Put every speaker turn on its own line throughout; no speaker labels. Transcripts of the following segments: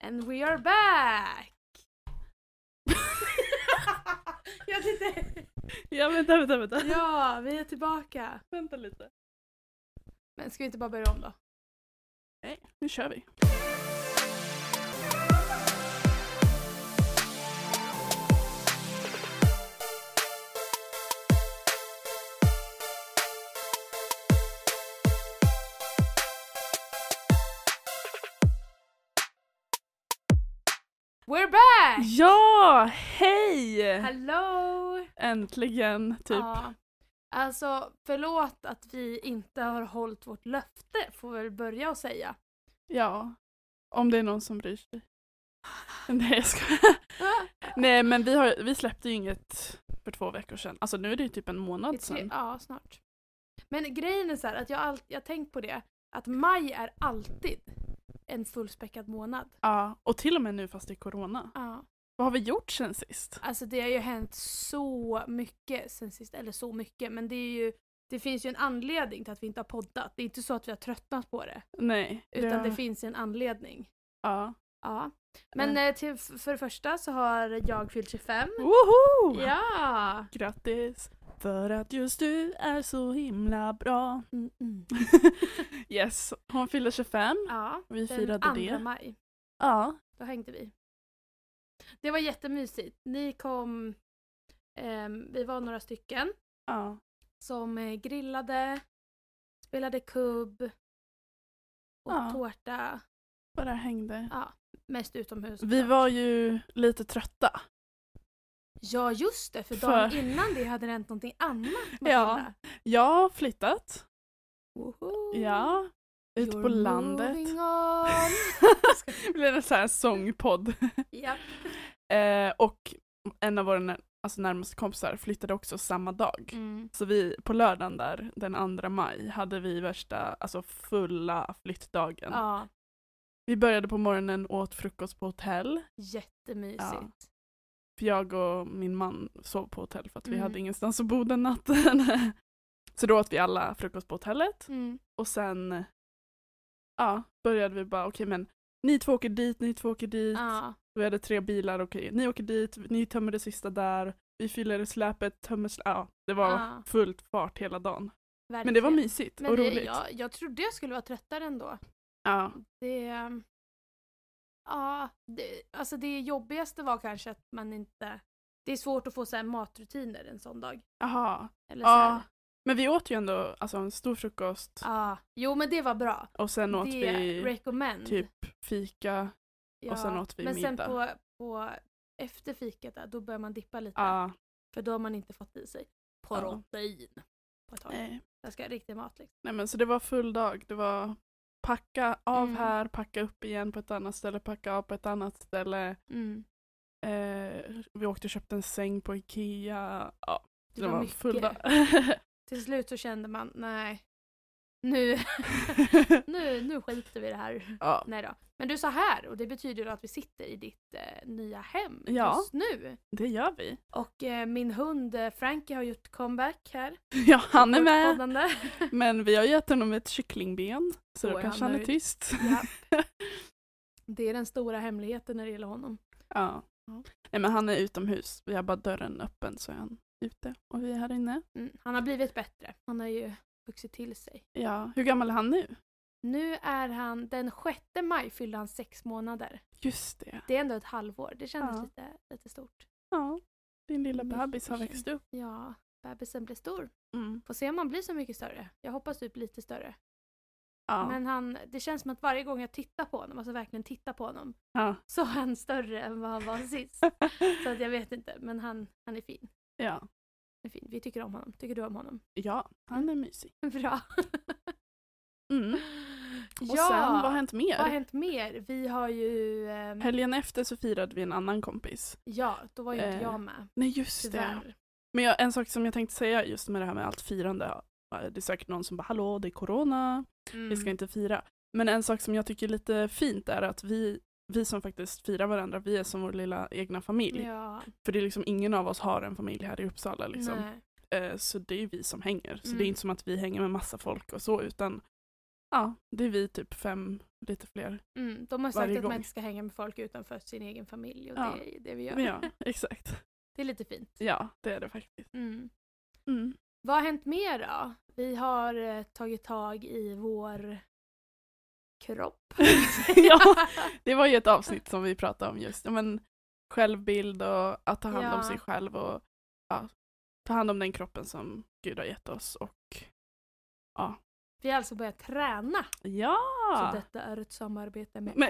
And we are back! jag tyckte...
Ja, vänta, vänta, vänta.
Ja, vi är tillbaka.
Vänta lite.
Men ska vi inte bara börja om då?
Nej, nu kör vi.
We're back!
Ja, hej!
Hello!
Äntligen, typ.
Ja. Alltså, förlåt att vi inte har hållit vårt löfte, får vi väl börja och säga.
Ja. Om det är någon som bryr sig. Nej, jag skojar. Nej, men vi, har, vi släppte ju inget för två veckor sedan. Alltså nu är det ju typ en
I
månad
tre-
sedan.
Ja, snart. Men grejen är så här att jag all- jag har tänkt på det, att maj är alltid en fullspäckad månad.
Ja, och till och med nu fast det är corona.
Ja.
Vad har vi gjort sen sist?
Alltså det har ju hänt så mycket sen sist, eller så mycket, men det är ju det finns ju en anledning till att vi inte har poddat. Det är inte så att vi har tröttnat på det,
Nej.
utan
har-
det finns en anledning.
Ja.
Ja. Men
Mm.
eh, till, för det första så har jag fyllt 25.
Woho!
Ja!
Grattis! För att just du är så himla bra.
Mm, mm.
Yes, hon fyller 25.
ja
Vi
den
firade
andra
det.
maj,
Ja.
då hängde vi. Det var jättemysigt. Ni kom, ehm, vi var några stycken
ja.
som eh, grillade, spelade kubb, åt
Ja.
tårta.
Bara hängde.
Mest utomhus.
Vi var ju lite trötta.
Ja just det, för
För-
dagen innan det hade det hänt någonting annat. Matilda.
Jag har flyttat.
Woho!
Ja. Ut
You're
på landet.
moving on.
Det blev en sån här sångpodd.
ja.
Eh, och en av våra när- alltså närmaste kompisar flyttade också samma dag.
Mm.
Så vi, på lördagen där, den 2 maj, hade vi värsta, alltså fulla flyttdagen.
ja,
Vi började på morgonen, åt frukost på hotell.
jättemysigt.
Ja. För jag och min man sov på hotell för att vi
Mm.
hade ingenstans att bo den natten. Så då åt vi alla frukost på hotellet
Mm.
och sen ja, började vi bara, okej men ni två åker dit, ni två åker dit.
Ja.
Vi hade tre bilar, okej ni åker dit, ni tömmer det sista där, vi fyller i släpet, tömmer släpet. Ja, det var
Ja.
fullt fart hela dagen. Men det var
verkligen.
mysigt
Men
och
det,
roligt.
Jag, jag trodde jag skulle vara tröttare ändå.
Ja.
Det, ehm, ja, det, alltså det jobbigaste var kanske att man inte... Det är svårt att få så här matrutiner en sån dag.
Aha.
Eller så här,
Ja. Men vi åt ju ändå alltså, en stor frukost
ja. Jo men det var bra.
och sen åt
det
vi
recommend.
typ fika.
Ja,
sen åt vi
men
middag.
sen på, på efter fiket där, då börjar man dippa lite.
Ja.
För då har man inte fått i sig protein på ett tag.
Nej.
Jag ska ha riktig mat liksom.
Nej men så det var full dag. Det var packa av
Mm.
här, packa upp igen på ett annat ställe, packa av på ett annat ställe. Eh, vi åkte och köpte en säng på Ikea. Ja,
Det
det, var,
var
en full dag.
mycket. Till slut så kände man, nej. Nu, nu, nu skiter vi i det här.
ja.
Nej då. Men du sa här och det betyder då att vi sitter i ditt eh, nya hem
Ja.
just nu.
Det gör vi.
Och eh, min hund eh, Frankie har gjort comeback här.
Ja, han är med.
Poddande.
Men vi har gett honom ett kycklingben så då
Då är
kanske
han
han är
nöjd.
tyst.
Ja. Det är den stora hemligheten när det gäller honom.
Ja.
Ja.
Nej men han är utomhus. Vi har bara dörren öppen så är han ute och vi är här inne.
Mm, han har blivit bättre. Han har ju vuxit till sig.
Ja, hur gammal är han nu?
Nu är han, den 6 maj fyllde han sex månader.
Just det.
Det är ändå ett halvår. Det kändes
Ja.
lite, lite stort.
Ja, din lilla
Mm,
bebis har
okej.
växt upp.
Ja, bebisen blir stor.
Mm.
Får se om han blir så mycket större. Jag hoppas typ lite större.
Ja.
Men han, det känns som att varje gång jag tittar på honom, alltså verkligen tittar på honom,
Ja.
så är han större än vad han var sist. så att jag vet inte, men han, han är fin.
ja.
Han är fin. Vi tycker om honom. Tycker du om honom?
Ja, han är mysig.
Bra.
Mm. Och
ja,
sen, vad har hänt mer?
vad har hänt mer? Vi har ju... ehm,
Helgen efter så firade vi en annan kompis.
Ja, då var ju inte
Eh,
jag med.
Nej, just det.
Tyvärr.
Men jag, en sak som jag tänkte säga just med det här med allt firande. ja, Det är säkert någon som bara “hallå, det är corona,
Mm.
vi ska inte fira”. Men en sak som jag tycker är lite fint är att vi, vi som faktiskt firar varandra, vi är som vår lilla egna familj.
Ja,
För det är liksom ingen av oss har en familj här i Uppsala liksom.
nej.
Eh, Så det är ju vi som hänger. Så det
Mm.
är inte som att vi hänger med massa folk och så utan Ja, det är vi typ fem, lite fler.
Mm, de har sagt
Varje
att
gång.
man inte ska hänga med folk utanför sin egen familj och
Ja.
det är det vi gör.
Men ja, exakt.
Det är lite fint.
Ja, det är det faktiskt.
Mm.
Mm.
Vad har hänt mer då? Vi har eh, tagit tag i vår kropp.
ja, det var ju ett avsnitt som vi pratade om just. Ja, men, självbild och att ta hand om
Ja.
sig själv och ja, ta hand om den kroppen som Gud har gett oss. Och
Vi har alltså börjat träna.
ja!
Så detta är ett samarbete med...
Men...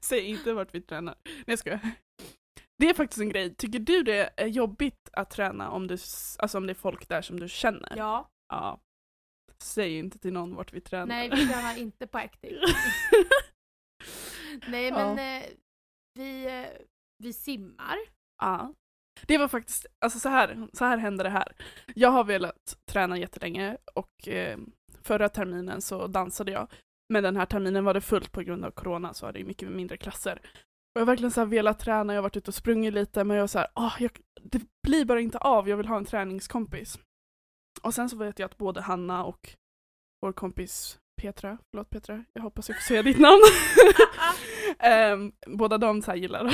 Säg inte vart vi tränar. Nej jag skojar. Det är faktiskt en grej. Tycker du det är jobbigt att träna om, du, s- alltså om det är folk där som du känner?
Ja.
Ja. Säg inte till någon vart vi tränar.
Nej, vi tränar inte på Active. Nej,
Ja.
men eh, vi, eh, vi simmar.
Ja. Det var faktiskt, alltså så här, så här hände det här. Jag har velat träna jättelänge och eh, förra terminen så dansade jag. Men den här terminen var det fullt på grund av corona så var det ju mycket mindre klasser. Och jag har verkligen så här velat träna, jag har varit ute och sprungit lite men jag var så här, "Ah, jag, det blir bara inte av, jag vill ha en träningskompis. Och sen så vet jag att både Hanna och vår kompis Petra, förlåt Petra, jag hoppas jag får säga ditt namn. Ehm, båda de så här gillar Nej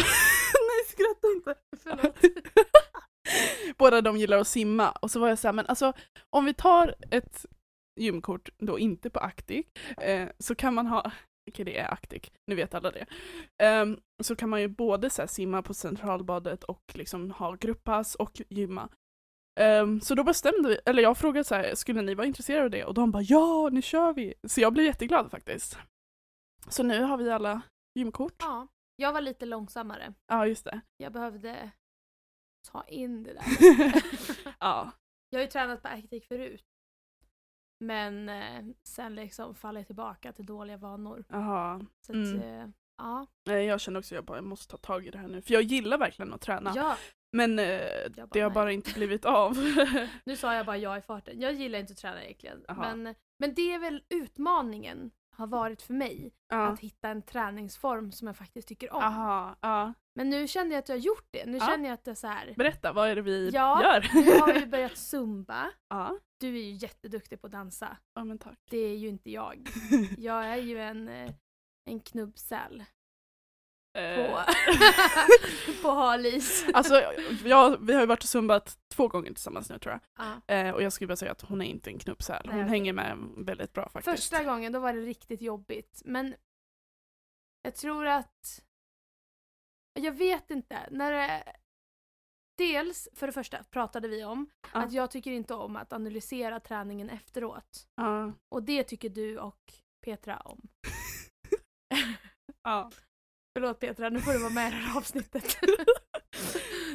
skratta inte.
Förlåt.
Båda de gillar att simma och så var jag så här, men alltså om vi tar ett gymkort då inte på Actic eh, så kan man ha, okej det är Actic, nu vet alla det. Ehm, så kan man ju både så här, simma på centralbadet och liksom ha grupppass och gymma. Ehm, så då bestämde vi, eller jag frågade så här, skulle ni vara intresserade av det? Och de bara ja, nu kör vi! Så jag blev jätteglad faktiskt. Så nu har vi alla gymkort.
Ja, jag var lite långsammare.
Ja, just det.
Jag behövde ta in det där.
ja.
Jag har ju tränat på Actic förut. Men eh, sen liksom faller jag tillbaka till dåliga vanor.
Aha.
Så att,
Mm.
eh, ja.
Nej, Jag känner också att jag bara jag måste ta tag i det här nu. För jag gillar verkligen att träna.
ja.
Men eh,
bara,
det har
nej.
bara inte blivit av.
Nu sa jag bara ja i farten. Jag gillar inte att träna egentligen.
Jaha.
Men, men det är väl utmaningen har varit för mig.
ja.
Att hitta en träningsform som jag faktiskt tycker om.
Aha, ja.
Men nu känner jag att jag har gjort det. Nu
Ja.
känner jag att det är så här.
Berätta, vad är det vi
Ja.
gör?
Nu har vi börjat zumba.
ja.
Du är ju jätteduktig på att dansa.
ja, men tack.
Det är ju inte jag. Jag är ju en, eh, en knubbsäl på,
Eh,
på halis.
alltså, jag, vi har ju varit och zumbat två gånger tillsammans nu tror jag.
Ja.
Eh, och jag skulle bara säga att hon är inte en knubbsäl. Hon
Nej, okej.
hänger med väldigt bra faktiskt.
Första gången då var det riktigt jobbigt. Men jag tror att... Jag vet inte. När det... Dels, för det första, pratade vi om
Ja.
att jag tycker inte om att analysera träningen efteråt.
Ja.
Och det tycker du och Petra om.
Ja.
Förlåt Petra, nu får du vara med i det här avsnittet.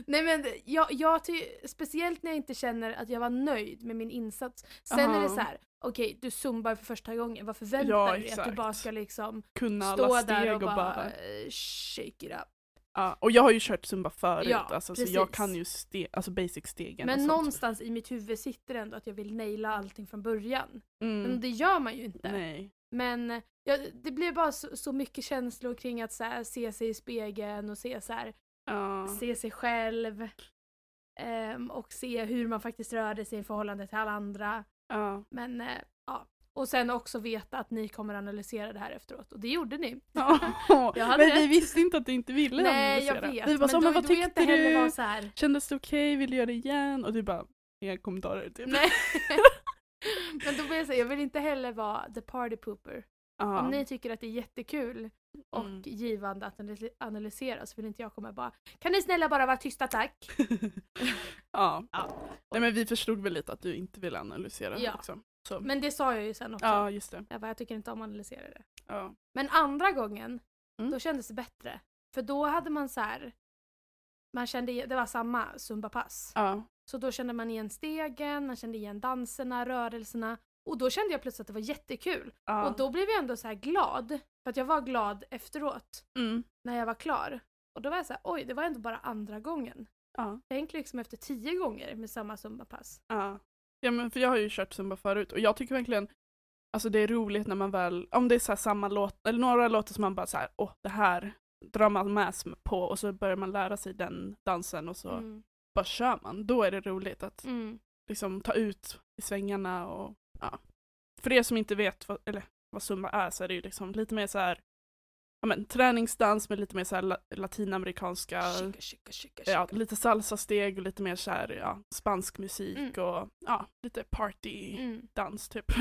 Nej men jag, jag ty- speciellt när jag inte känner att jag var nöjd med min insats. Sen är
Aha.
det så här, okej du zumbar för första gången, vad förväntar
Ja,
du dig? Att du
exakt.
bara ska liksom
Kunna
stå
alla steg
där
och,
och bara,
bara...
eh, shake it up.
Ja, och jag har ju kört zumba förut,
Ja,
alltså, så
precis.
jag kan ju ste- alltså basic-stegen och
Men
sånt.
någonstans i mitt huvud sitter ändå att jag vill naila allting från början.
Mm.
Men det gör man ju inte.
Nej.
Men ja, det blev bara så, så mycket känslor kring att så här, se sig i spegeln och se, så här,
Ja.
se sig själv. ehm, och se hur man faktiskt rörde sig i förhållande till alla andra.
Ja.
Men eh, ja. Och sen också veta att ni kommer analysera det här efteråt. Och det gjorde ni. Jag hade
men vi
rätt.
visste inte att du inte ville
Nej, jag
analysera.
vet.
Vi bara så,
men
men
då,
vad
då vill jag inte
tyckte
heller
du?
vara så här.
Kändes det okej? Vill du göra det igen? Och du bara, inga kommentarer typ.
Nej. Men då vill jag säga, jag vill inte heller vara the party pooper.
Ja.
Om ni tycker att det är jättekul och
Mm.
givande att analys- analysera så vill inte jag komma och bara Kan ni snälla bara vara tysta tack?
Mm. ja.
Ja.
Nej men vi förstod väl lite att du inte ville analysera
Ja.
också. Så.
Men det sa jag ju sen också.
ja, just det.
Jag bara, jag tycker inte om att analysera det.
Ja.
Men andra gången,
Mm.
då kändes det bättre. För då hade man så här man kände, det var samma zumbapass.
Ja.
Så då kände man igen stegen, man kände igen danserna, rörelserna. Och då kände jag plötsligt att det var jättekul.
Ja.
Och då blev jag ändå så här glad. För att jag var glad efteråt
Mm.
när jag var klar. Och då var jag så här, oj det var ändå bara andra gången.
Ja.
Tänk liksom efter tio gånger med samma zumbapass.
Ja. ja men för jag har ju kört zumba förut och jag tycker verkligen Alltså det är roligt när man väl, om det är så här samma låt, eller några låtar som man bara så här, åh det här drar man med sig på och så börjar man lära sig den dansen och så
Mm.
bara kör man. Då är det roligt att
Mm.
liksom ta ut i svängarna och ja. För er som inte vet vad, eller, vad zumba är så är det ju liksom lite mer så här ja, men, träningsdans med lite mer så här la- latinamerikanska,
Chicka, chicka, chicka,
ja,
chicka.
lite salsasteg och lite mer så här ja, spansk musik
Mm.
och ja, lite partydans
Mm.
typ.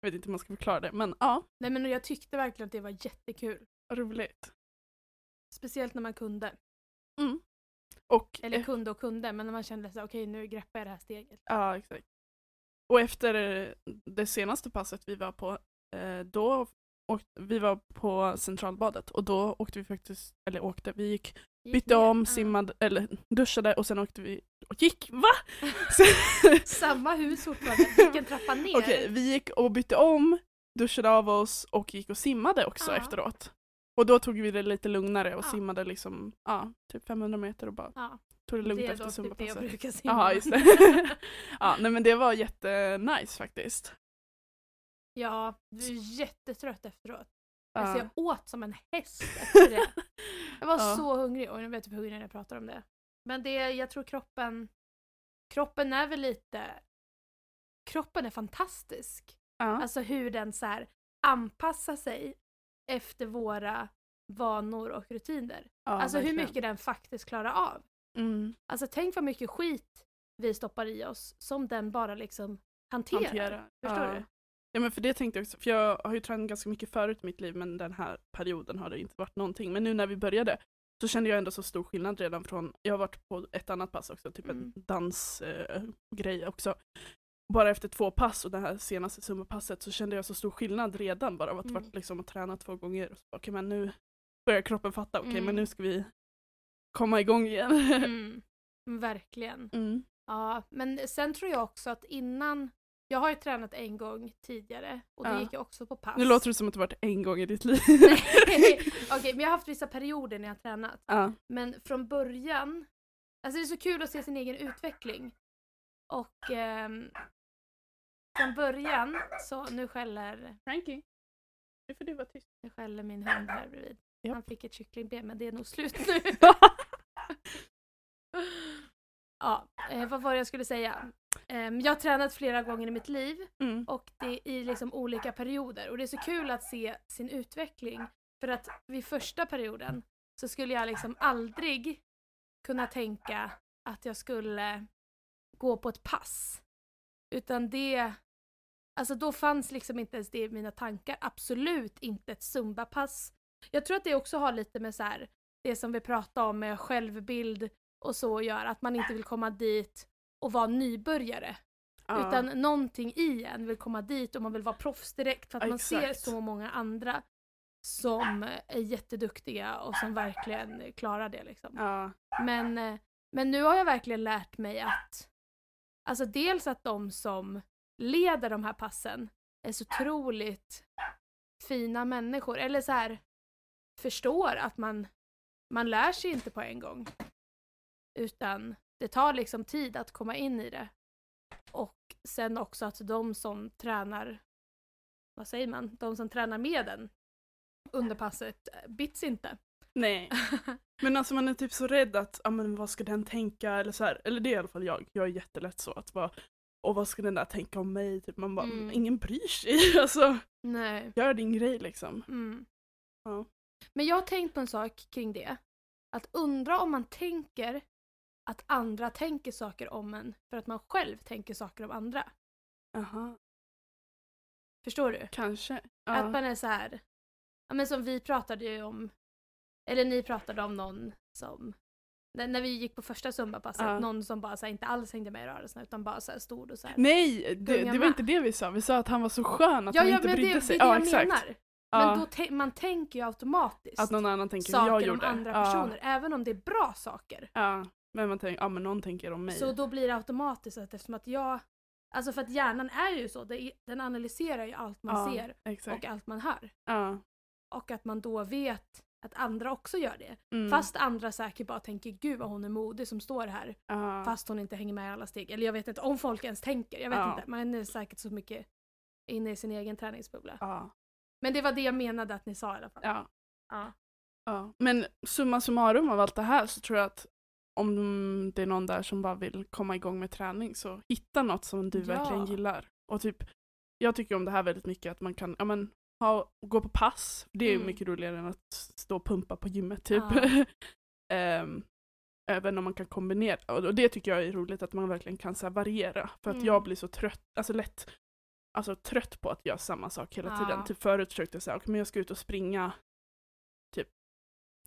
jag vet inte hur man ska förklara det men ja,
Nej men jag tyckte verkligen att det var jättekul.
roligt. Mm.
Speciellt när man kunde.
Och e-
Eller kunde och kunde, men när man kände så här, okej nu greppar jag det här steget.
Ja, exakt. Och efter det senaste passet vi var på, eh, då åk- vi var på Centralbadet och då åkte vi faktiskt, eller åkte, vi gick,
Gick
bytte
ner. Ah.
om,
Ja.
simmade, eller duschade och sen åkte vi, och gick, va?
Samma hus fortfarande, vilken trappa ner.
Okej, vi gick och bytte om, duschade av oss och gick och simmade också
Ja.
efteråt. Och då tog vi det lite lugnare och
Ja.
simmade liksom, ja, typ 500 meter och bara
Ja,
tog det lugnt
det är
efter
då typ det jag
Zumbapasset.
brukar simma.
Ja, just det. ja, nej men det var jättenice faktiskt.
ja, du är jättetrött efteråt.
Ja.
Alltså jag åt som en häst efter det. Jag var
Ja.
så hungrig. Och nu vet jag hur hungrig när jag pratar om det. Men det, jag tror kroppen... Kroppen är väl lite... Kroppen är fantastisk.
Ja.
Alltså hur den så här anpassar sig efter våra vanor och rutiner.
Ja,
alltså hur
verkligen.
mycket den faktiskt klarar av.
mm,
Alltså tänk vad mycket skit vi stoppar i oss som den bara liksom hanterar.
hantera.
Förstår
ja.
du?
Ja men för det tänkte jag också, för jag har ju tränat ganska mycket förut i mitt liv men den här perioden har det inte varit någonting. Men nu när vi började så kände jag ändå så stor skillnad redan från, jag har varit på ett annat pass också, typ
Mm.
en dansgrej också. Bara efter två pass och det här senaste summapasset så kände jag så stor skillnad redan bara av att
Mm.
varit liksom och träna två gånger. Och så, bara, Okej men nu börjar kroppen fatta, okej
Mm.
men nu ska vi komma igång igen.
Mm. Verkligen.
Mm.
Ja, men sen tror jag också att innan... Jag har ju tränat en gång tidigare och det
Ja.
gick jag också på pass.
Nu låter det som att det varit en gång i ditt liv.
Nej, Okej, men jag har haft vissa perioder när jag har tränat.
Ja.
Men från början... Alltså det är så kul att se sin egen utveckling. Och ehm, från början så... Nu skäller,
Frankie, nu får du vara tyst.
nu skäller min hund här bredvid.
Japp.
Han fick ett kycklingben men det är nog slut nu. ja, eh, vad var det jag skulle säga? Ehm, jag har tränat flera gånger i mitt liv.
Mm.
Och det är i liksom olika perioder. Och det är så kul att se sin utveckling. För att vid första perioden så skulle jag liksom aldrig kunna tänka att jag skulle gå på ett pass. Utan det... Alltså då fanns liksom inte ens det i mina tankar. Absolut inte ett zumbapass. Jag tror att det också har lite med så här, det som vi pratade om med självbild och så gör. Att man inte vill komma dit och vara nybörjare.
Ja.
Utan någonting i en vill komma dit och man vill vara proffs direkt för att
Ja,
man ser
exakt.
så många andra som är jätteduktiga och som verkligen klarar det. Liksom.
Ja.
Men, eh, men nu har jag verkligen lärt mig att alltså dels att de som leder de här passen är så otroligt fina människor. Eller så här förstår att man, man lär sig inte på en gång. Utan det tar liksom tid att komma in i det. Och sen också att de som tränar, vad säger man, de som tränar med den under passet eh, bits inte.
Nej. Men alltså man är typ så rädd att, ja men vad ska den tänka eller så här. Eller det är i alla fall jag, jag är jättelätt så att bara, och vad ska den där tänka om mig? Typ man bara,
Mm.
ingen bryr sig. Alltså,
Nej.
gör din grej liksom.
Mm.
Ja.
Men jag har tänkt på en sak kring det. Att undra om man tänker att andra tänker saker om en för att man själv tänker saker om andra.
Aha.
Förstår du?
Kanske.
Att
Ja.
man är så här, ja men som vi pratade ju om, eller ni pratade om någon som, när, när vi gick på första Zumbapasset,
Ja.
någon som bara så här, inte alls hängde med i rörelserna utan bara så här stod och så här.
Nej, det,
Gunga
det var
med.
inte det vi sa. Vi sa att han var så skön att han inte
men det,
brydde
det är det
sig.
jag menar.
Ja.
Men då te- man tänker ju automatiskt
Att någon annan tänker hur
saker
jag
om
gjorde.
andra
Ja.
personer, även om det är bra saker.
Ja, men man tänker, ja men någon tänker om mig.
Så då blir det automatiskt att eftersom att jag, alltså för att hjärnan är ju så, det- den analyserar ju allt man
ja,
ser
Exakt.
och allt man hör.
ja.
Och att man då vet att andra också gör det.
Mm.
Fast andra säkert bara tänker gud vad hon är modig som står här.
ja.
Fast hon inte hänger med i alla steg. Eller jag vet inte om folk ens tänker, jag vet
Ja.
inte. Man är säkert så mycket inne i sin egen träningsbubbla.
Ja.
Men det var det jag menade att ni sa i alla fall.
Ja.
Ja.
Ja. Men summa summarum av allt det här så tror jag att om det är någon där som bara vill komma igång med träning så hitta något som du
Ja.
verkligen gillar. Och typ jag tycker om det här väldigt mycket, att man kan ja, men, ha, gå på pass. Det är ju
Mm.
mycket roligare än att stå och pumpa på gymmet typ. Ehm, även om man kan kombinera. Och och det tycker jag är roligt, att man verkligen kan så här, variera. För att
Mm.
jag blir så trött, alltså lätt alltså, trött på att göra samma sak hela
Ja.
tiden. Typ förut försökte jag säga, okej men jag ska ut och springa typ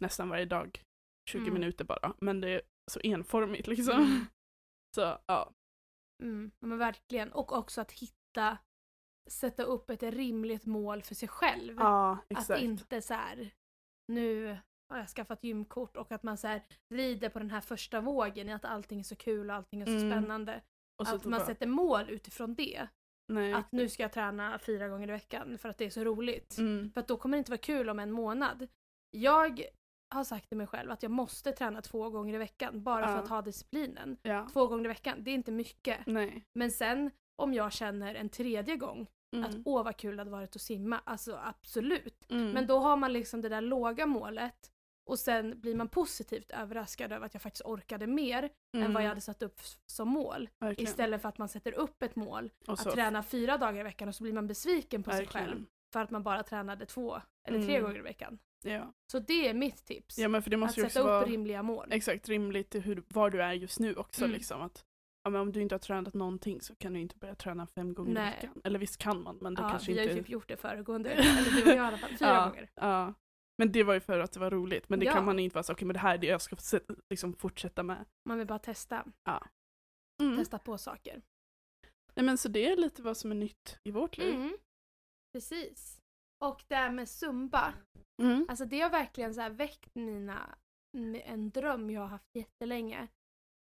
nästan varje dag, 20
Mm.
minuter bara. Men det är så enformigt liksom.
Mm.
Så ja.
Mm, ja, men verkligen. Och också att hitta, sätta upp ett rimligt mål för sig själv.
Ja,
att
exakt.
inte så här, nu har jag skaffat gymkort och att man så här rider på den här första vågen i att allting är så kul och allting är så
Mm.
spännande.
och så
Att
typ
man
bara,
sätter mål utifrån det.
nej.
Att nu ska jag träna fyra gånger i veckan för att det är så roligt.
mm,
För att då kommer det inte vara kul om en månad. Jag har sagt till mig själv att jag måste träna två gånger i veckan bara för
Ja.
att ha disciplinen.
ja.
Två gånger i veckan, det är inte mycket.
Nej.
Men sen om jag känner en tredje gång
Mm.
att åh vad kul det hade varit att simma, alltså absolut.
mm.
Men då har man liksom det där låga målet och sen blir man positivt överraskad över att jag faktiskt orkade mer än vad jag hade satt upp s- som mål.
Mm. Verkligen.
Istället för att man sätter upp ett mål
och
att träna fyra dagar i veckan och så blir man besviken på sig
verkligen.
själv för att man bara tränade två eller tre
Mm.
gånger i veckan.
Ja.
Så det är mitt tips.
ja, men för det
att
måste ju
sätta
också
upp
vara
rimliga mål.
exakt rimligt till hur, var du är just nu också.
Mm.
Liksom, att, ja, men om du inte har tränat någonting så kan du inte börja träna fem gånger
Nej.
i veckan. Eller visst kan man, men det
ja,
kanske
vi har
inte...
ju typ gjort det föregående, eller du och jag i alla fall, fyra
ja,
gånger.
Ja. Men det var ju för att det var roligt. Men det
Ja.
kan man inte vara så, okej men det här är det jag ska se- liksom, fortsätta med.
Man vill bara testa,
Mm.
testa på saker.
Nej, men så det är lite vad som är nytt i vårt liv.
Mm. Precis. Och det här med Zumba,
Mm.
alltså det har verkligen så här väckt mina, m- en dröm jag har haft jättelänge.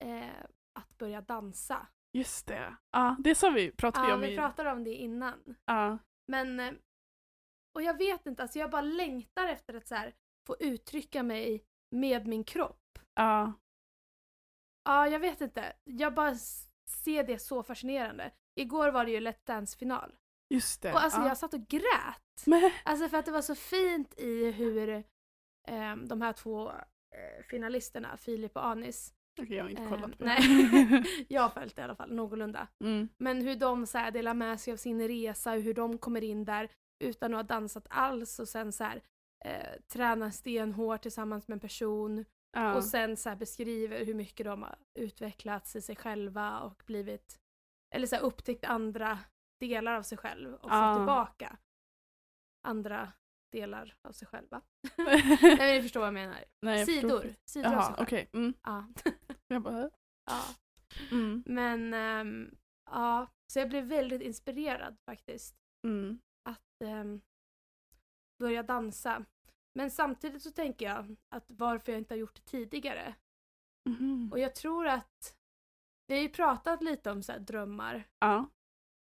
Eh, att börja dansa.
Just det. Ja, det sa vi, pratade vi
Ja,
om
vi
i...
pratade om det innan.
Ja.
Men, eh, och jag vet inte, alltså jag bara längtar efter att så här, få uttrycka mig med min kropp.
Ja.
Ja, jag vet inte. Jag bara s- ser det så fascinerande. Igår var det ju Let's Dance-final.
just det.
Och alltså
ja.
jag satt och grät.
Men,
Alltså för att det var så fint i hur eh, de här två eh, finalisterna, Filip och Anis,
Okej, jag har inte
Ehm,
kollat på
nej.
det.
jag har följt det i alla fall någorlunda,
mm.
men hur de så här, delar med sig av sin resa och hur de kommer in där utan att ha dansat alls och sen så här, eh, tränar stenhårt tillsammans med en person
Ja.
och sen så här beskriver hur mycket de har utvecklats i sig själva och blivit, eller så här upptäckt andra delar av sig själv och
Ja.
fått tillbaka andra delar av sig själva. Nej men ni förstår vad jag menar.
Nej, jag förstod
sidor.
inte.
Sidor av sig
Jaha,
själv.
okej. Mm.
Ja.
Jag bara...
ja.
Mm.
Men ehm, ja, så jag blev väldigt inspirerad faktiskt
Mm.
att ehm, börja dansa. Men samtidigt så tänker jag att varför jag inte har gjort det tidigare
Mhm.
Och jag tror att vi har ju pratat lite om så här drömmar
Ja.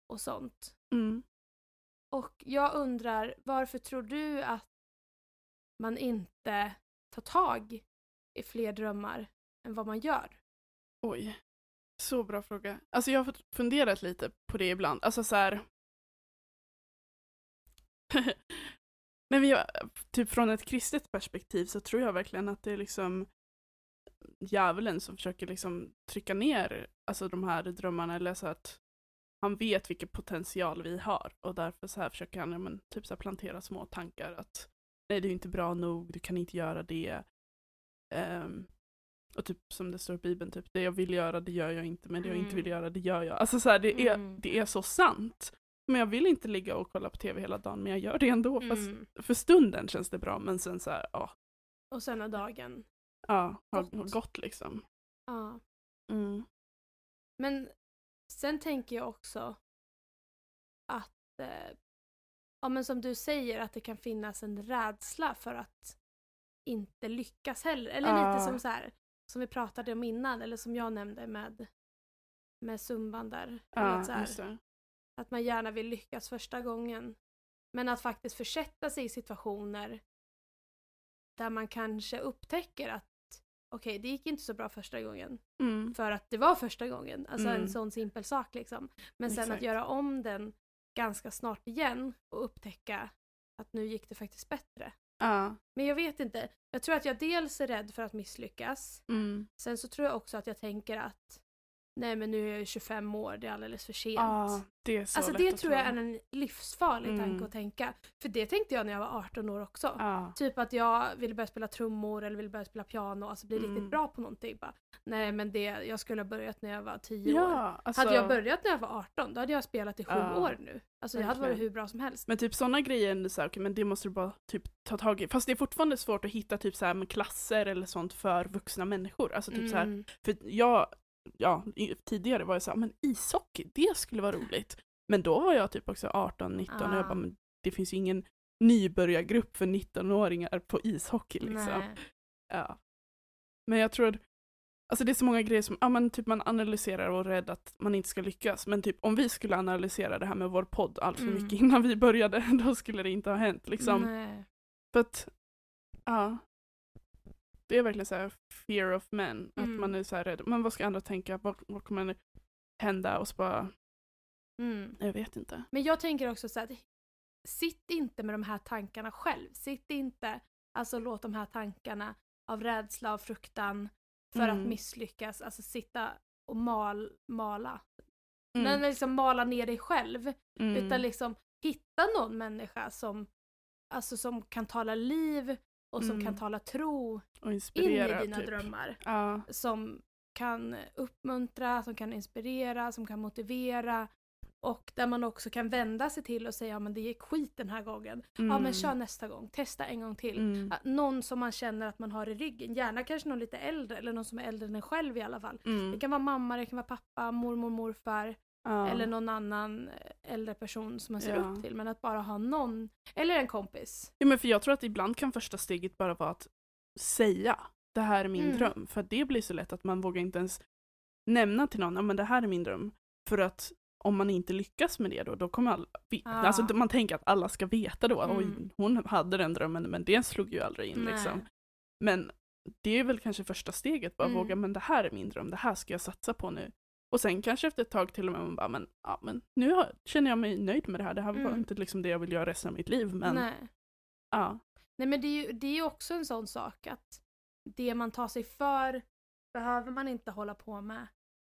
och sånt.
Mm.
Och jag undrar, varför tror du att man inte tar tag i fler drömmar än vad man gör?
Oj. Så bra fråga. Alltså jag har fått- funderat lite på det ibland. Alltså så här... Nej, men jag, typ från ett kristet perspektiv så tror jag verkligen att det är liksom djävulen som försöker liksom trycka ner alltså de här drömmarna eller så att han vet vilken potential vi har och därför så här försöker han ja, men, typ så här plantera små tankar att nej, du är inte bra nog, du kan inte göra det. Ehm, och typ som det står i Bibeln, typ, det jag vill göra det gör jag inte, men det jag inte
Mm.
vill göra det gör jag. Alltså så här, det, är,
Mm.
det är så sant. Men jag vill inte ligga och kolla på tv hela dagen, men jag gör det ändå. Fast
Mm.
för stunden känns det bra men sen så här, ja,
Och sen av dagen.
ja har,
Gott.
har gått liksom.
Ja.
Mm.
Men sen tänker jag också att, eh, ja men som du säger, att det kan finnas en rädsla för att inte lyckas heller. Eller
Ja.
lite som så här, som vi pratade om innan, eller som jag nämnde med, med zumban där. Eller att, så
Ja,
här,
just det.
att man gärna vill lyckas första gången. Men att faktiskt försätta sig i situationer där man kanske upptäcker att okej, det gick inte så bra första gången
Mm.
för att det var första gången. Alltså
Mm.
en sån simpel sak liksom. Men sen
Exakt.
att göra om den ganska snart igen och upptäcka att nu gick det faktiskt bättre.
Ja.
Men jag vet inte. Jag tror att jag dels är rädd för att misslyckas.
Mm.
Sen så tror jag också att jag tänker att nej men nu är jag ju 25 år, det är alldeles för sent.
Ah, det är så
alltså
lätt
det
att
tror jag är
tro.
en livsfarlig
Mm.
tanke att tänka. För det tänkte jag när jag var 18 år också.
Ja.
Typ att jag ville börja spela trummor eller ville börja spela piano, alltså bli
Mm.
riktigt bra på någonting. Bara, nej men det, jag skulle ha börjat när jag var 10 år.
ja alltså,
Hade jag börjat när jag var 18 då hade jag spelat i 7
Ja,
år nu. Alltså jag hade varit
verkligen.
hur bra som helst.
Men typ sådana grejer, är så här, okej, men det måste du bara typ ta tag i. Fast det är fortfarande svårt att hitta typ så här med klasser eller sånt för vuxna människor. Alltså typ så här,
Mm.
för jag, ja, i- tidigare var jag så här, men ishockey, det skulle vara roligt. Men då var jag typ också 18, 19 och jag
Ah.
bara, men det finns ju ingen nybörjargrupp för 19-åringar på ishockey liksom.
Nej.
Ja. Men jag tror, alltså det är så många grejer som, ja men typ man analyserar och är rädd att man inte ska lyckas. Men typ om vi skulle analysera det här med vår podd allt för
Mm.
mycket innan vi började, då skulle det inte ha hänt liksom.
Nej.
För att, ja. Det är verkligen så här fear of men,
Mm.
att man är så här rädd. Men vad ska andra tänka? Vad, vad kommer hända? Och så bara,
Mm.
jag vet inte.
Men jag tänker också så att sitt inte med de här tankarna själv. Sitt inte, alltså låt de här tankarna av rädsla, av fruktan för att
Mm.
misslyckas, alltså sitta och mal, mala.
Mm.
Men liksom mala ner dig själv.
Mm.
Utan liksom hitta någon människa som, alltså som kan tala liv och som
Mm.
kan tala tro
och
in i
inspirera,
dina
typ.
drömmar.
Ja.
Som kan uppmuntra, som kan inspirera, som kan motivera. Och där man också kan vända sig till och säga ja men det gick skit den här gången. Ja men
Mm.
kör nästa gång, testa en gång till.
Mm.
Ja, Någon som man känner att man har i ryggen, gärna kanske någon lite äldre eller någon som är äldre än en själv i alla fall.
Mm.
Det kan vara mamma, det kan vara pappa, mormor, morfar.
Ja.
Eller någon annan äldre person som man ser
Ja.
upp till. Men att bara ha någon, eller en kompis.
Ja, men för jag tror att ibland kan första steget bara vara att säga det här är min
Mm.
dröm. För att det blir så lätt att man vågar inte ens nämna till någon, ja men det här är min dröm. För att om man inte lyckas med det då, då kommer alla, vi,
Ah.
alltså man tänker att alla ska veta då, oj
Mm.
hon hade den drömmen men det slog ju aldrig in
Nej.
liksom. Men det är väl kanske första steget, bara
Mm.
våga, men det här är min dröm, det här ska jag satsa på nu. Och sen kanske efter ett tag till och med man bara, men, ja, men nu har, känner jag mig nöjd med det här, det här var
Mm.
inte liksom det jag vill göra resten av mitt liv, men
Nej.
ja.
Nej men det är ju det är ju också en sån sak att det man tar sig för behöver man inte hålla på med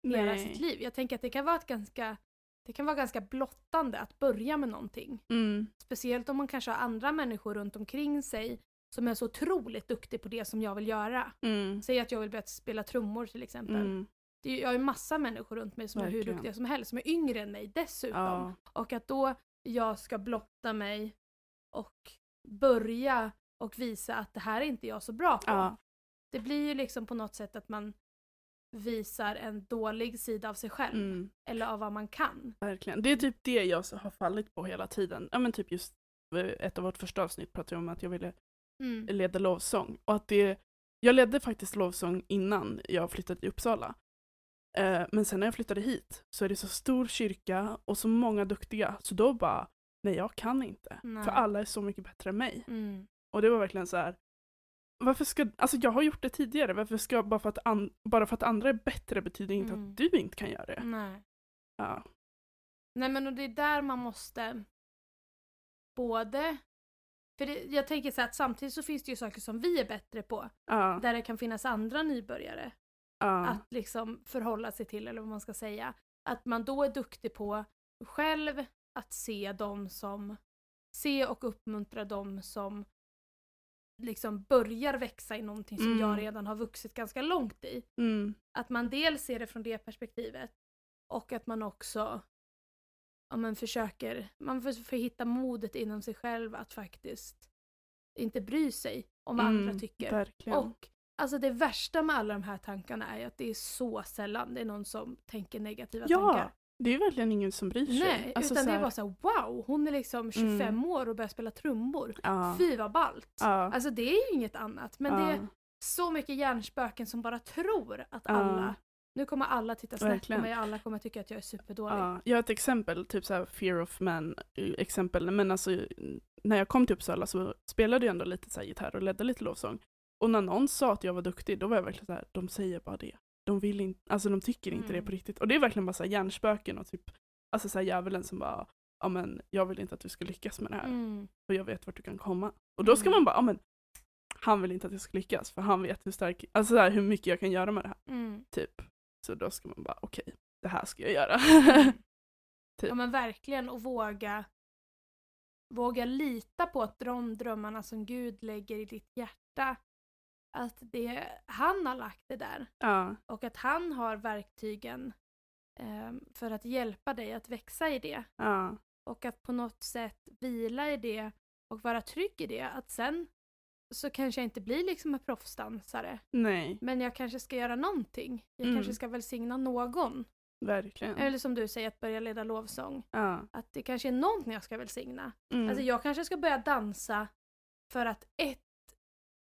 hela sitt liv. Jag tänker att det kan vara ett ganska det kan vara ganska blottande att börja med någonting.
Mm.
Speciellt om man kanske har andra människor runt omkring sig som är så otroligt duktig på det som jag vill göra.
Mm.
Säg att jag vill börja spela trummor till exempel.
Mm.
Det är, ju- jag har ju massa människor runt mig som är hur
Verkligen.
duktiga som helst, som är yngre än mig dessutom.
Ja.
Och att då jag ska blotta mig och börja och visa att det här är inte jag så bra på.
Ja.
Det blir ju liksom på något sätt att man visar en dålig sida av sig själv
Mm.
eller av vad man kan.
Verkligen. Det är typ det jag så har fallit på hela tiden. Ja men typ just eh, ett av vårt första avsnitt pratade jag om att jag ville
Mm.
leda lovsång. Och att det, jag ledde faktiskt lovsång innan jag flyttade till Uppsala. Eh, men sen när jag flyttade hit så är det så stor kyrka och så många duktiga. Så då bara, nej jag kan inte.
Nej.
För alla är så mycket bättre än mig.
Mm.
Och det var verkligen så här. Varför ska, alltså jag har gjort det tidigare, varför ska jag, bara för att, an, bara för att andra är bättre betyder inte
Mm.
att du inte kan göra det.
Nej.
Ja.
Nej men och det är där man måste både för det, jag tänker så här att samtidigt så finns det ju saker som vi är bättre på.
Ja.
Där det kan finnas andra nybörjare.
Ja.
att liksom förhålla sig till eller vad man ska säga. Att man då är duktig på själv att se dem som, se och uppmuntra dem som liksom börjar växa i någonting som
Mm.
jag redan har vuxit ganska långt i.
Mm.
Att man dels ser det från det perspektivet och att man också ja, men försöker, man får, får hitta modet inom sig själv att faktiskt inte bry sig om vad
Mm,
andra tycker.
Verkligen.
Och alltså det värsta med alla de här tankarna är ju att det är så sällan det är någon som tänker negativa
ja,
tankar.
det är verkligen ingen som bryr sig. Alltså
Nej, utan
så
det
här, Mm.
är bara såhär wow, hon är liksom 25 år och börjar spela trummor.
ja.
Fy vad ballt.
Ja.
Alltså det är ju inget annat. Men det
ja.
är så mycket hjärnspöken som bara tror att
Ja.
alla, nu kommer alla titta snett på
Verkligen.
mig och alla kommer tycka att jag är superdålig.
Ja, jag har ett exempel, typ så här fear of man eh, exempel, men alltså eh, när jag kom till Uppsala så spelade jag ändå lite så här gitarr och ledde lite lovsång. Och när någon sa att jag var duktig, då var jag verkligen så här, de säger bara det. De vill inte, alltså de tycker inte det
Mm.
på riktigt. Och det är verkligen bara så här hjärnspöken och typ, alltså så här djävulen som bara, ja men jag vill inte att du ska lyckas med det här.
Mm.
för jag vet vart du kan komma. Och då ska
Mm.
man bara, ja men han vill inte att jag ska lyckas för han vet hur stark, alltså så här, hur mycket jag kan göra med det här.
Mm.
Typ. Så då ska man bara okej, det här ska jag göra.
Ja men verkligen och våga våga lita på att de drömmarna som Gud lägger i ditt hjärta att det, han har lagt det där
ja,
och att han har verktygen ehm, för att hjälpa dig att växa i det
ja,
och att på något sätt vila i det och vara trygg i det att sen så kanske jag inte blir liksom en proffsdansare
nej,
men jag kanske ska göra någonting. Jag
Mm.
kanske ska välsigna någon.
verkligen.
Eller som du säger att börja leda lovsång.
Ja,
Att det kanske är någonting jag ska välsigna.
mm,
Alltså jag kanske ska börja dansa för att ett,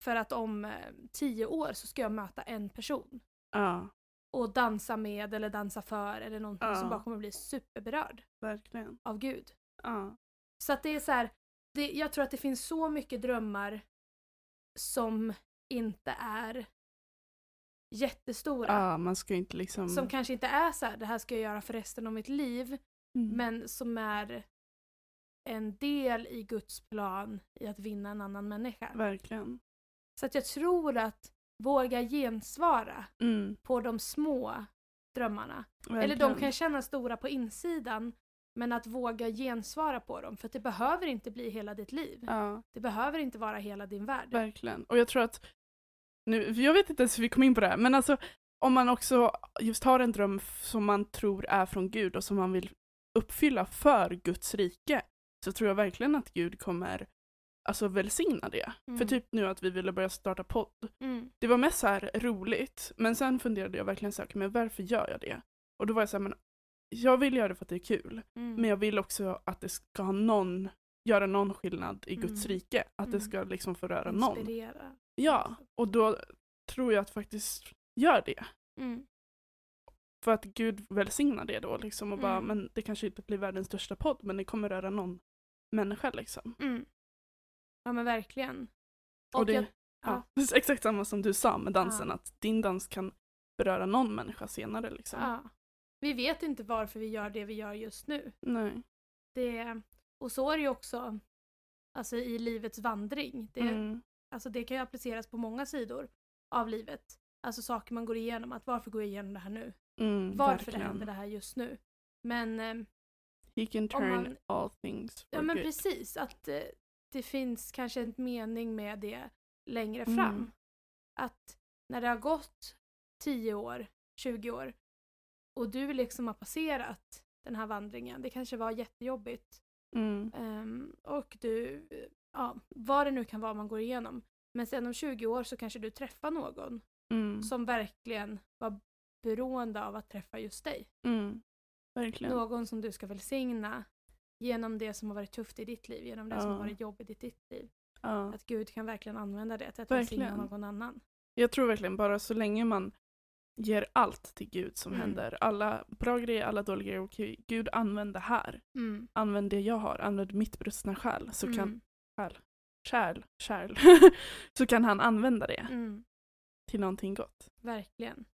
för att om eh, tio år så ska jag möta en person
ja,
och dansa med eller dansa för eller någonting
Ja.
som bara kommer bli superberörd
verkligen.
av Gud.
Ja,
Så att det är så här, det, jag tror att det finns så mycket drömmar som inte är jättestora.
ja, man ska ju inte liksom...
Som kanske inte är så här, det här ska jag göra för resten av mitt liv,
Mm.
men som är en del i Guds plan i att vinna en annan människa.
Verkligen.
Så att jag tror att våga gensvara
Mm,
på de små drömmarna. Eller
verkligen.
de kan kännas stora på insidan, men att våga gensvara på dem. För att det behöver inte bli hela ditt liv.
Ja,
Det behöver inte vara hela din värld.
verkligen. Och jag tror att... Nu, jag vet inte ens hur vi kom in på det här, men alltså om man också just har en dröm f- som man tror är från Gud och som man vill uppfylla för Guds rike, så tror jag verkligen att Gud kommer alltså välsigna det.
Mm.
För typ nu att vi ville börja starta podd,
Mm.
det var mest så här roligt, men sen funderade jag verkligen så här, "Okej, men varför gör jag det? Och då var jag så här, men jag vill göra det för att det är kul.
Mm.
Men jag vill också att det ska ha någon, göra någon skillnad i Guds
Mm.
rike. Att det
Mm.
ska liksom förröra någon.
Inspirera.
Ja, och då tror jag att faktiskt gör det.
Mm.
För att Gud välsignar det då liksom och bara,
Mm.
men det kanske inte blir världens största podd men det kommer röra någon människa liksom.
Mm. Ja men verkligen.
Och, det,
jag-
ja. det är exakt samma som du sa med dansen,
Ja.
att din dans kan beröra någon människa senare liksom.
ja, vi vet inte varför vi gör det vi gör just nu.
Nej.
Det, och så är det ju också alltså, i livets vandring. Det,
Mm.
alltså, det kan ju appliceras på många sidor av livet. Alltså saker man går igenom. Att varför går jag igenom det här nu?
Mm,
Varför det
verkligen.
händer det här just nu? Men, eh,
He can
Om
turn
man-
all things for
ja, men
good.
precis. Att eh, det finns kanske en mening med det längre fram.
Mm.
Att när det har gått 10 år, 20 år och du liksom har passerat den här vandringen. Det kanske var jättejobbigt.
Mm.
Ehm, och du, ja, vad det nu kan vara man går igenom. Men sen om 20 år så kanske du träffar någon
Mm.
som verkligen var beroende av att träffa just dig.
Mm. Verkligen.
Någon som du ska välsigna genom det som har varit tufft i ditt liv, genom det som har
Ja.
varit jobbigt i ditt liv.
Ja.
Att Gud kan verkligen använda det till att välsigna
Verkligen.
någon annan.
Jag tror verkligen bara så länge man ger allt till Gud som
Mm.
händer, alla bra grejer, alla dåliga grejer, okej, Gud använd det här,
Mm.
använd det jag har, använd mitt brustna själ, så kan,
Mm.
kärl, kärl, så kan han använda det
Mm.
till någonting gott.
Verkligen.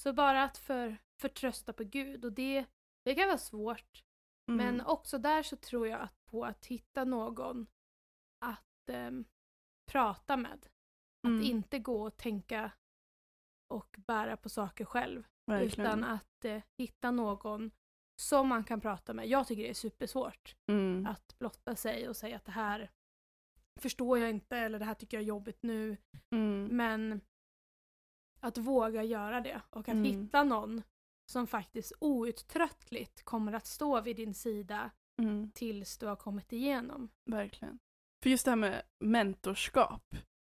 Så bara att för, förtrösta på Gud och det, det kan vara svårt.
Mm.
Men också där så tror jag att på att hitta någon att ehm, prata med.
Mm,
Att inte gå och tänka och bära på saker själv.
verkligen.
Utan att eh, hitta någon som man kan prata med. Jag tycker det är supersvårt
mm.
att blotta sig och säga att det här förstår jag inte eller det här tycker jag är jobbigt nu.
Mm.
Men att våga göra det och att
Mm.
hitta någon som faktiskt outtröttligt kommer att stå vid din sida
Mm.
tills du har kommit igenom.
Verkligen. För just det här med mentorskap,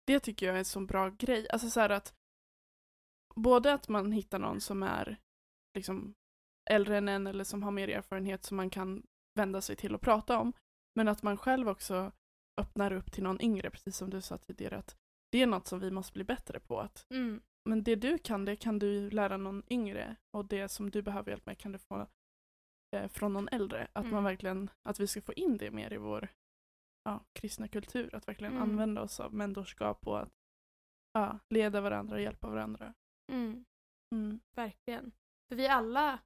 det tycker jag är en sån bra grej. Alltså så här att både att man hittar någon som är liksom äldre än en eller som har mer erfarenhet som man kan vända sig till och prata om, men att man själv också öppnar upp till någon yngre, precis som du sa tidigare, att det är något som vi måste bli bättre på. Att,
Mm,
men det du kan, det kan du lära någon yngre och det som du behöver hjälp med kan du få eh, från någon äldre. Att
Mm.
man verkligen, att vi ska få in det mer i vår ja, kristna kultur, att verkligen
Mm.
använda oss av mentorskap och att ja, leda varandra och hjälpa varandra.
mm,
Mm.
verkligen. För vi alla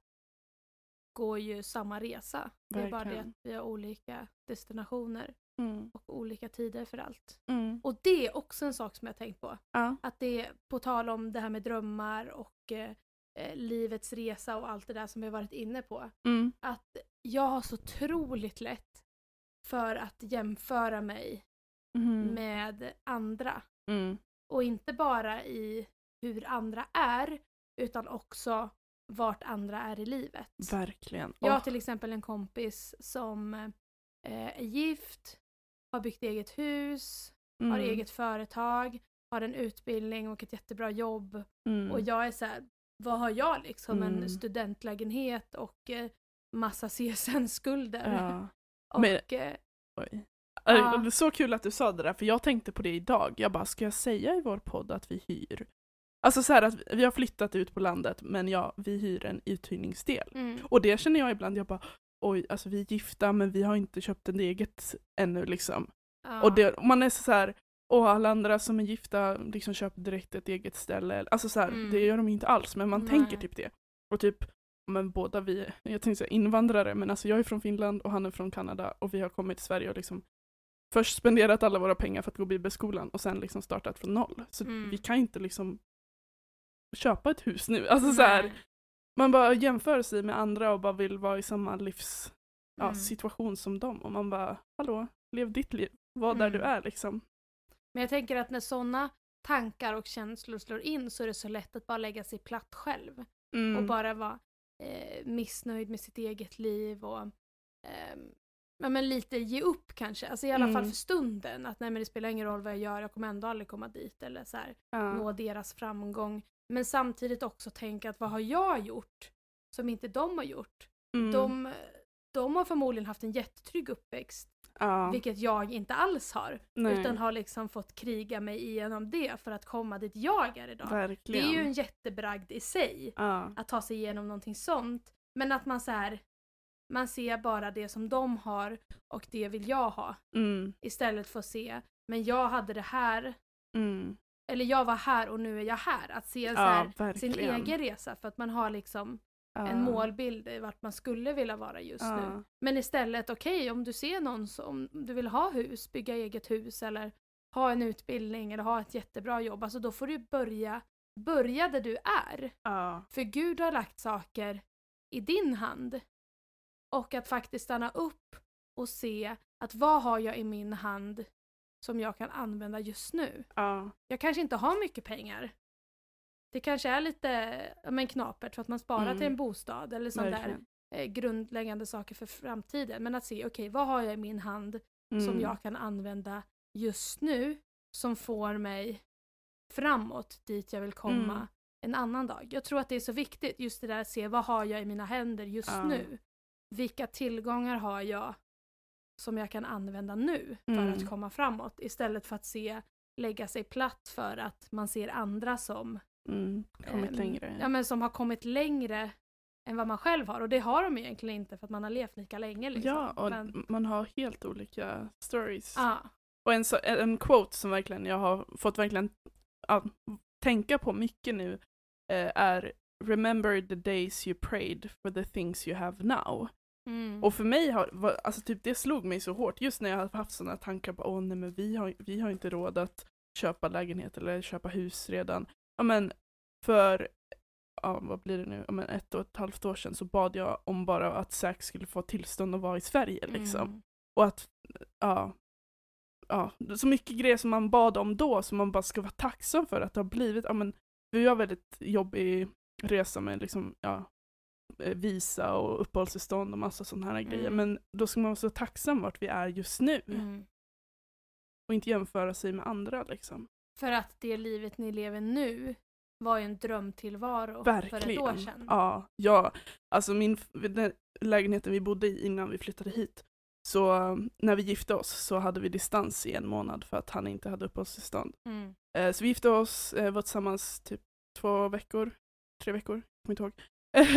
går ju samma resa. Det är bara det
Verkligen.
att vi har olika destinationer
Mm.
och olika tider för allt.
Mm.
Och det är också en sak som jag har tänkt på.
Ja.
Att det är, på tal om det här med drömmar och eh, eh, livets resa och allt det där som vi har varit inne på.
Mm.
Att jag har så otroligt lätt för att jämföra mig
Mm.
med andra.
Mm.
Och inte bara i hur andra är, utan också vart andra är i livet.
Verkligen.
Jag har
Åh,
till exempel en kompis som eh, är gift, har byggt eget hus, har
mm,
eget företag, har en utbildning och ett jättebra jobb.
mm.
Och jag är så här, vad har jag liksom?
Mm.
En studentlägenhet och eh, massa CSN-skulder.
Ja.
och,
Men-
eh,
Oj.
Ja.
Äh, Så kul att du sa det där, för jag tänkte på det idag. Jag bara, ska jag säga i vår podd att vi hyr? Alltså så här att vi har flyttat ut på landet, men ja, vi hyr en uthyrningsdel.
mm,
Och det känner jag ibland, jag bara, oj, alltså vi är gifta, men vi har inte köpt en eget ännu liksom.
ja.
Och det, och man är så här, och alla andra som är gifta liksom köper direkt ett eget ställe. Alltså så här,
Mm.
det gör de inte alls, men man
Nej.
tänker typ det. Och typ, men båda vi, jag tänkte säga invandrare, men alltså jag är från Finland och han är från Kanada och vi har kommit till Sverige och liksom först spenderat alla våra pengar för att gå bibelskolan och sen liksom startat från noll. Så
Mm.
vi kan inte liksom köpa ett hus nu. Alltså så här, man bara jämför sig med andra och bara vill vara i samma livs ja,
Mm.
situation som dem. Och man bara, hallå, lev ditt liv. Var där
Mm.
du är liksom.
Men jag tänker att när sådana tankar och känslor slår in så är det så lätt att bara lägga sig platt själv.
Mm.
och bara vara eh, missnöjd med sitt eget liv och ehm, ja, men lite ge upp kanske. Alltså i alla fall
Mm.
för stunden. Att nej men det spelar ingen roll vad jag gör, jag kommer ändå aldrig komma dit. Eller så här,
ja.
nå deras framgång. Men samtidigt också tänka att vad har jag gjort som inte de har gjort?
mm.
De, de har förmodligen haft en jättetrygg uppväxt,
ja.
vilket jag inte alls har.
Nej.
Utan har liksom fått kriga mig igenom det för att komma dit jag är idag. Det
Verkligen.
är ju en jättebragd i sig
ja.
att ta sig igenom någonting sånt. Men att man så här, man ser bara det som de har och det vill jag ha.
Mm.
Istället för att se, men jag hade det här,
Mm.
eller jag var här och nu är jag här. Att se så
Ja,
här, sin
verkligen.
egen resa för att man har liksom
Ja.
en målbild i vart man skulle vilja vara just nu.
Ja.
Men istället, okej om du ser någon som du vill ha hus, bygga eget hus eller ha en utbildning eller ha ett jättebra jobb, alltså då får du börja, börja där du är.
Ja.
För Gud har lagt saker i din hand. Och att faktiskt stanna upp och se att vad har jag i min hand som jag kan använda just nu.
Ja.
Jag kanske inte har mycket pengar. Det kanske är lite ja, men knapert för att man sparar
Mm.
till en bostad eller sånt
Verkligen.
där eh, grundläggande saker för framtiden. Men att se, okej, vad har jag i min hand
Mm.
som jag kan använda just nu som får mig framåt dit jag vill komma
Mm.
en annan dag. Jag tror att det är så viktigt just det där att se vad har jag i mina händer just
Ja.
nu. Vilka tillgångar har jag som jag kan använda nu för
Mm.
att komma framåt istället för att se lägga sig platt för att man ser andra som,
mm. kommit
ehm,
längre.
ja, men som har kommit längre än vad man själv har och det har de egentligen inte för att man har levt lika länge. Liksom.
Ja, och
men,
man har helt olika stories.
ja.
Och en, så- en quote som verkligen jag har fått verkligen ja, tänka på mycket nu eh, är Remember the days you prayed for the things you have now.
mm.
Och för mig har, var, alltså typ det slog mig så hårt just när jag har haft sådana tankar på åh nej men vi har, vi har inte råd att köpa lägenhet eller köpa hus redan. Ja men för, ja vad blir det nu, ja, men ett och ett halvt år sedan så bad jag om bara att Zack skulle få tillstånd att vara i Sverige liksom.
Mm.
Och att, ja, ja, så mycket grejer som man bad om då som man bara ska vara tacksam för att det har blivit. Ja, men, vi har väldigt jobbig resa med liksom, ja, eh, visa och uppehållstillstånd och massa sådana här grejer.
Mm.
Men då ska man vara så tacksam vart vi är just nu
Mm.
och inte jämföra sig med andra liksom.
För att det livet ni lever nu var ju en drömtillvaro för ett
Verkligen.
år sedan.
Ja, ja. Alltså min, den lägenheten vi bodde i innan vi flyttade hit, så eh, när vi gifte oss så hade vi distans i en månad för att han inte hade uppehållstillstånd.
Mm.
Eh, så vi gifte oss, eh, var tillsammans typ två veckor, tre veckor, kommer inte ihåg.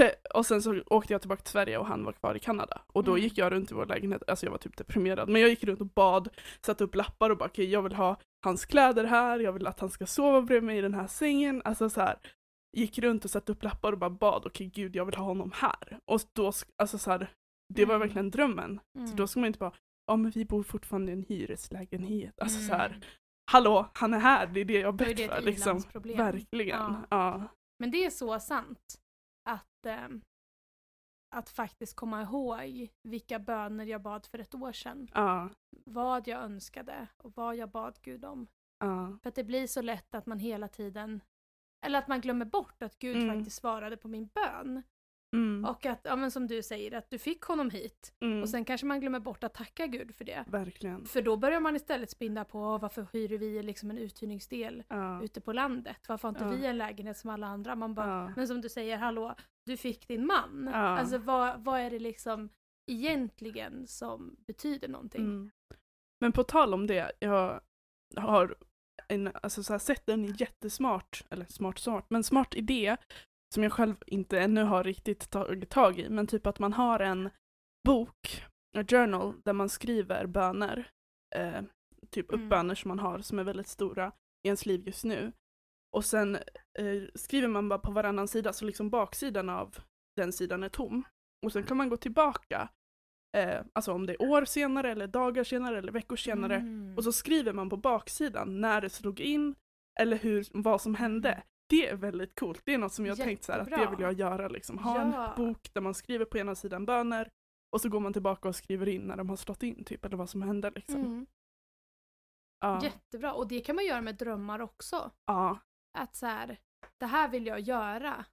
och sen så åkte jag tillbaka till Sverige och han var kvar i Kanada. Och då
Mm.
gick jag runt i vår lägenhet, alltså jag var typ deprimerad, men jag gick runt och bad, satte upp lappar och bara okej jag vill ha hans kläder här, jag vill att han ska sova bredvid mig i den här sängen, alltså så här. Gick runt och satte upp lappar och bara bad, okej gud jag vill ha honom här. Och då, sk- alltså så här, det var
Mm.
verkligen drömmen. Så
Mm.
då ska man inte bara, ja men vi bor fortfarande i en hyreslägenhet, alltså så här
Mm.
hallå, han är här, det är det jag har
Då är
bett
det
för.
ett
Liksom.
i-landsproblem.
Verkligen.
Ja.
Ja.
Men det är så sant. att, ehm, att faktiskt komma ihåg vilka böner jag bad för ett år sedan.
Ja,
Vad jag önskade och vad jag bad Gud om.
ja,
För att det blir så lätt att man hela tiden, eller att man glömmer bort att Gud
Mm.
faktiskt svarade på min bön.
mm,
Och att, ja, men som du säger, att du fick honom hit.
mm,
Och sen kanske man glömmer bort att tacka Gud för det.
verkligen.
För då börjar man istället spinna på "Åh, varför hyr vi liksom en uthyrningsdel
Ja,
ute på landet? Varför har inte
Ja.
vi en lägenhet som alla andra? Man bara,
ja,
men som du säger, hallå, du fick din man.
Ja.
Alltså vad, vad är det liksom egentligen som betyder någonting?
mm. Men på tal om det, jag har en, alltså så här, sett en jättesmart, eller smart smart, men smart idé som jag själv inte ännu har riktigt tagit tag i, men typ att man har en bok, en journal, där man skriver böner, eh, typ
Mm.
uppböner som man har som är väldigt stora i ens liv just nu. Och sen eh, skriver man bara på varannan sida, så liksom baksidan av den sidan är tom. Och sen kan man gå tillbaka, eh, alltså om det är år senare eller dagar senare eller veckor senare,
Mm.
och så skriver man på baksidan när det slog in eller hur, vad som hände. Det är väldigt coolt. Det är något som jag tänkt så här, att det
Mm. Jättebra.
vill jag göra. Liksom. Ha
Ja.
en bok där man skriver på ena sidan böner och så går man tillbaka och skriver in när de har slått in typ, eller vad som hände. Liksom.
Mm.
Ja.
Jättebra, och det kan man göra med drömmar också.
Ja.
Att så här, det här vill jag göra.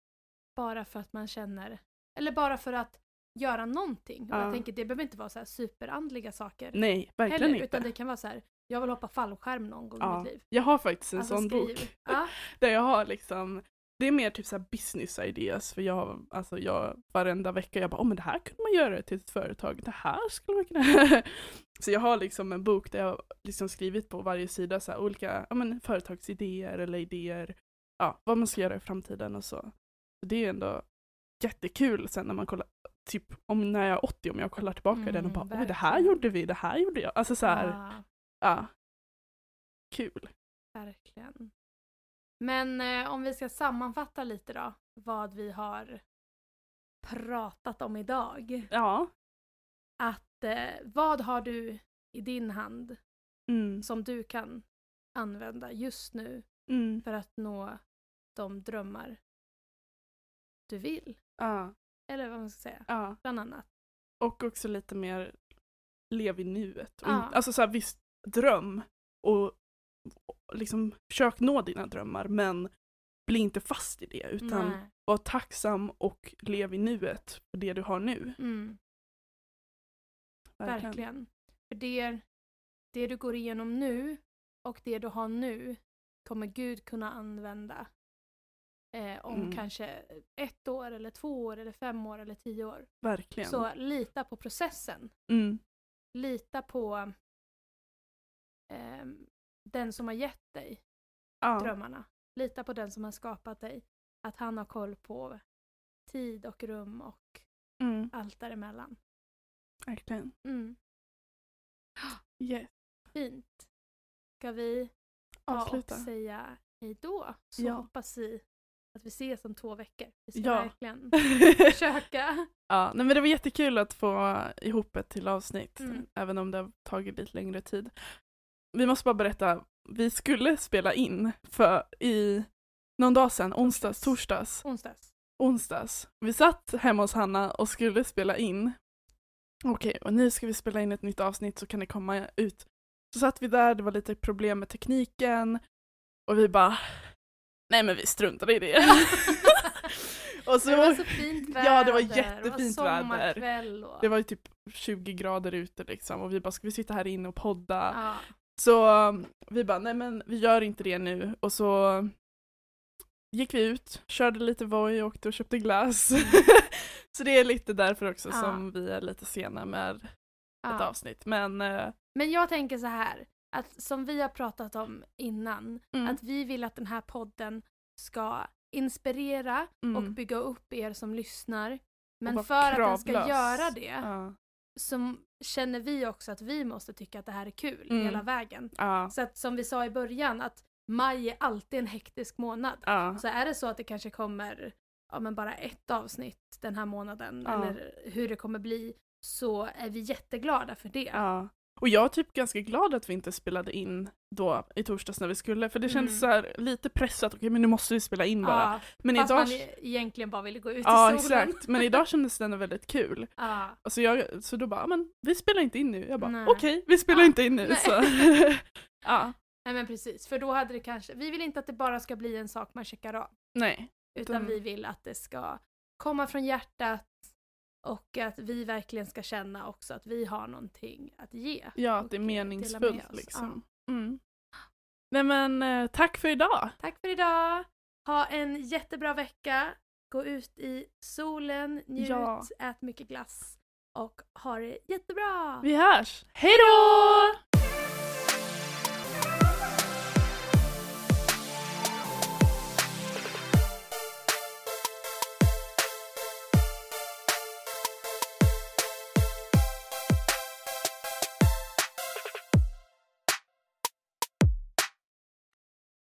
Bara för att man känner, eller bara för att göra någonting. Och
Ja.
jag tänker, det behöver inte vara så här superandliga saker.
Nej, verkligen
heller,
inte.
utan det kan vara så här, jag vill hoppa fallskärm någon gång i
ja.
mitt liv.
Jag har faktiskt en
Alltså,
sån
skriv.
bok
Ja,
där jag har liksom det är mer typ så här business ideas för jag, alltså jag varenda vecka jag bara, åh men det här kunde man göra till ett företag, det här skulle man kunna Så jag har liksom en bok där jag liksom skrivit på varje sida så här olika ja, men företagsidéer eller idéer, ja vad man ska göra i framtiden och så. så det är ändå jättekul sen när man kollar, typ om när jag är 80 om jag kollar tillbaka
Mm,
den och bara, åh det här
verkligen.
gjorde vi, det här gjorde jag, alltså så här, ja.
ja,
Kul.
verkligen. Men eh, om vi ska sammanfatta lite då, vad vi har pratat om idag.
Ja.
Att, eh, vad har du i din hand
Mm.
som du kan använda just nu
Mm.
för att nå de drömmar du vill?
Ja.
Eller vad man ska säga,
Ja.
bland annat.
Och också lite mer lev i nuet. Och
Ja.
inte- Alltså så här, visst, dröm och, och liksom försök nå dina drömmar men bli inte fast i det utan
Nej.
var tacksam och lev i nuet för det du har nu.
Mm. Verkligen. För det, det du går igenom nu och det du har nu kommer Gud kunna använda eh, om
Mm.
kanske ett år, eller två år, eller fem år eller tio år.
Verkligen.
Så lita på processen.
Mm,
Lita på ehm, den som har gett dig
ja,
drömmarna. Lita på den som har skapat dig. Att han har koll på tid och rum och
mm,
allt däremellan.
verkligen.
Mm,
Yes.
fint. Ska vi ja, och
Avsluta.
säga hej då. Så
Ja.
hoppas vi att vi ses om två veckor. Vi ska
Ja.
verkligen försöka.
ja, nej, men det var jättekul att få ihop ett till avsnitt
Mm.
även om det har tagit lite längre tid. Vi måste bara berätta, vi skulle spela in för i någon dag sedan, onsdags, torsdags,
Onsdags.
onsdags. Vi satt hemma hos Hanna och skulle spela in. Okej, och nu ska vi spela in ett nytt avsnitt så kan det komma ut. Så satt vi där, det var lite problem med tekniken och vi bara Nej men vi struntade i det. och så,
det var så fint väder.
Ja, det var
och
jättefint väder.
sommarkväll och...
det var ju typ 20 grader ute liksom och vi bara ska vi sitta här inne och podda?
ja.
Så um, vi bara, nej men vi gör inte det nu och så gick vi ut, körde lite Voi, åkte och köpte glass. så det är lite därför också
Ja.
som vi är lite sena med ett
ja.
avsnitt. Men eh,
Men jag tänker så här, att som vi har pratat om innan,
mm,
att vi vill att den här podden ska inspirera
mm,
och bygga upp er som lyssnar. Men
vara
för att den ska
kravlös.
göra det
ja,
så känner vi också att vi måste tycka att det här är kul
Mm.
hela vägen.
ja,
Så att som vi sa i början att maj är alltid en hektisk månad.
ja,
Så är det så att det kanske kommer ja, men bara ett avsnitt den här månaden
Ja.
eller hur det kommer bli så är vi jätteglada för det.
ja. Och jag är typ ganska glad att vi inte spelade in då i torsdags när vi skulle, för det kändes
Mm.
så här lite pressat, okej men nu måste vi spela in bara.
Ja,
men
fast
idag,
man egentligen bara ville gå ut
ja
i solen.
exakt, men idag kändes det ändå väldigt kul.
Ja.
Och så, jag, så då bara, "Ja, men vi spelar inte in nu. Jag bara,
Nej.
okej, vi spelar
Ja,
inte in nu.
nej.
Så. ja,
Nej men precis, för då hade det kanske, vi vill inte att det bara ska bli en sak man checkar av.
nej.
Utan
Utan-
vi vill att det ska komma från hjärtat och att vi verkligen ska känna också att vi har någonting att ge.
Ja, att det är
Och, eh, dela med
meningsfullt
oss.
liksom. Mm. Nej men eh, tack för idag.
Tack för idag! Ha en jättebra vecka. Gå ut i solen, njut,
Ja.
ät mycket glass och ha det jättebra!
Vi hörs. Hej då!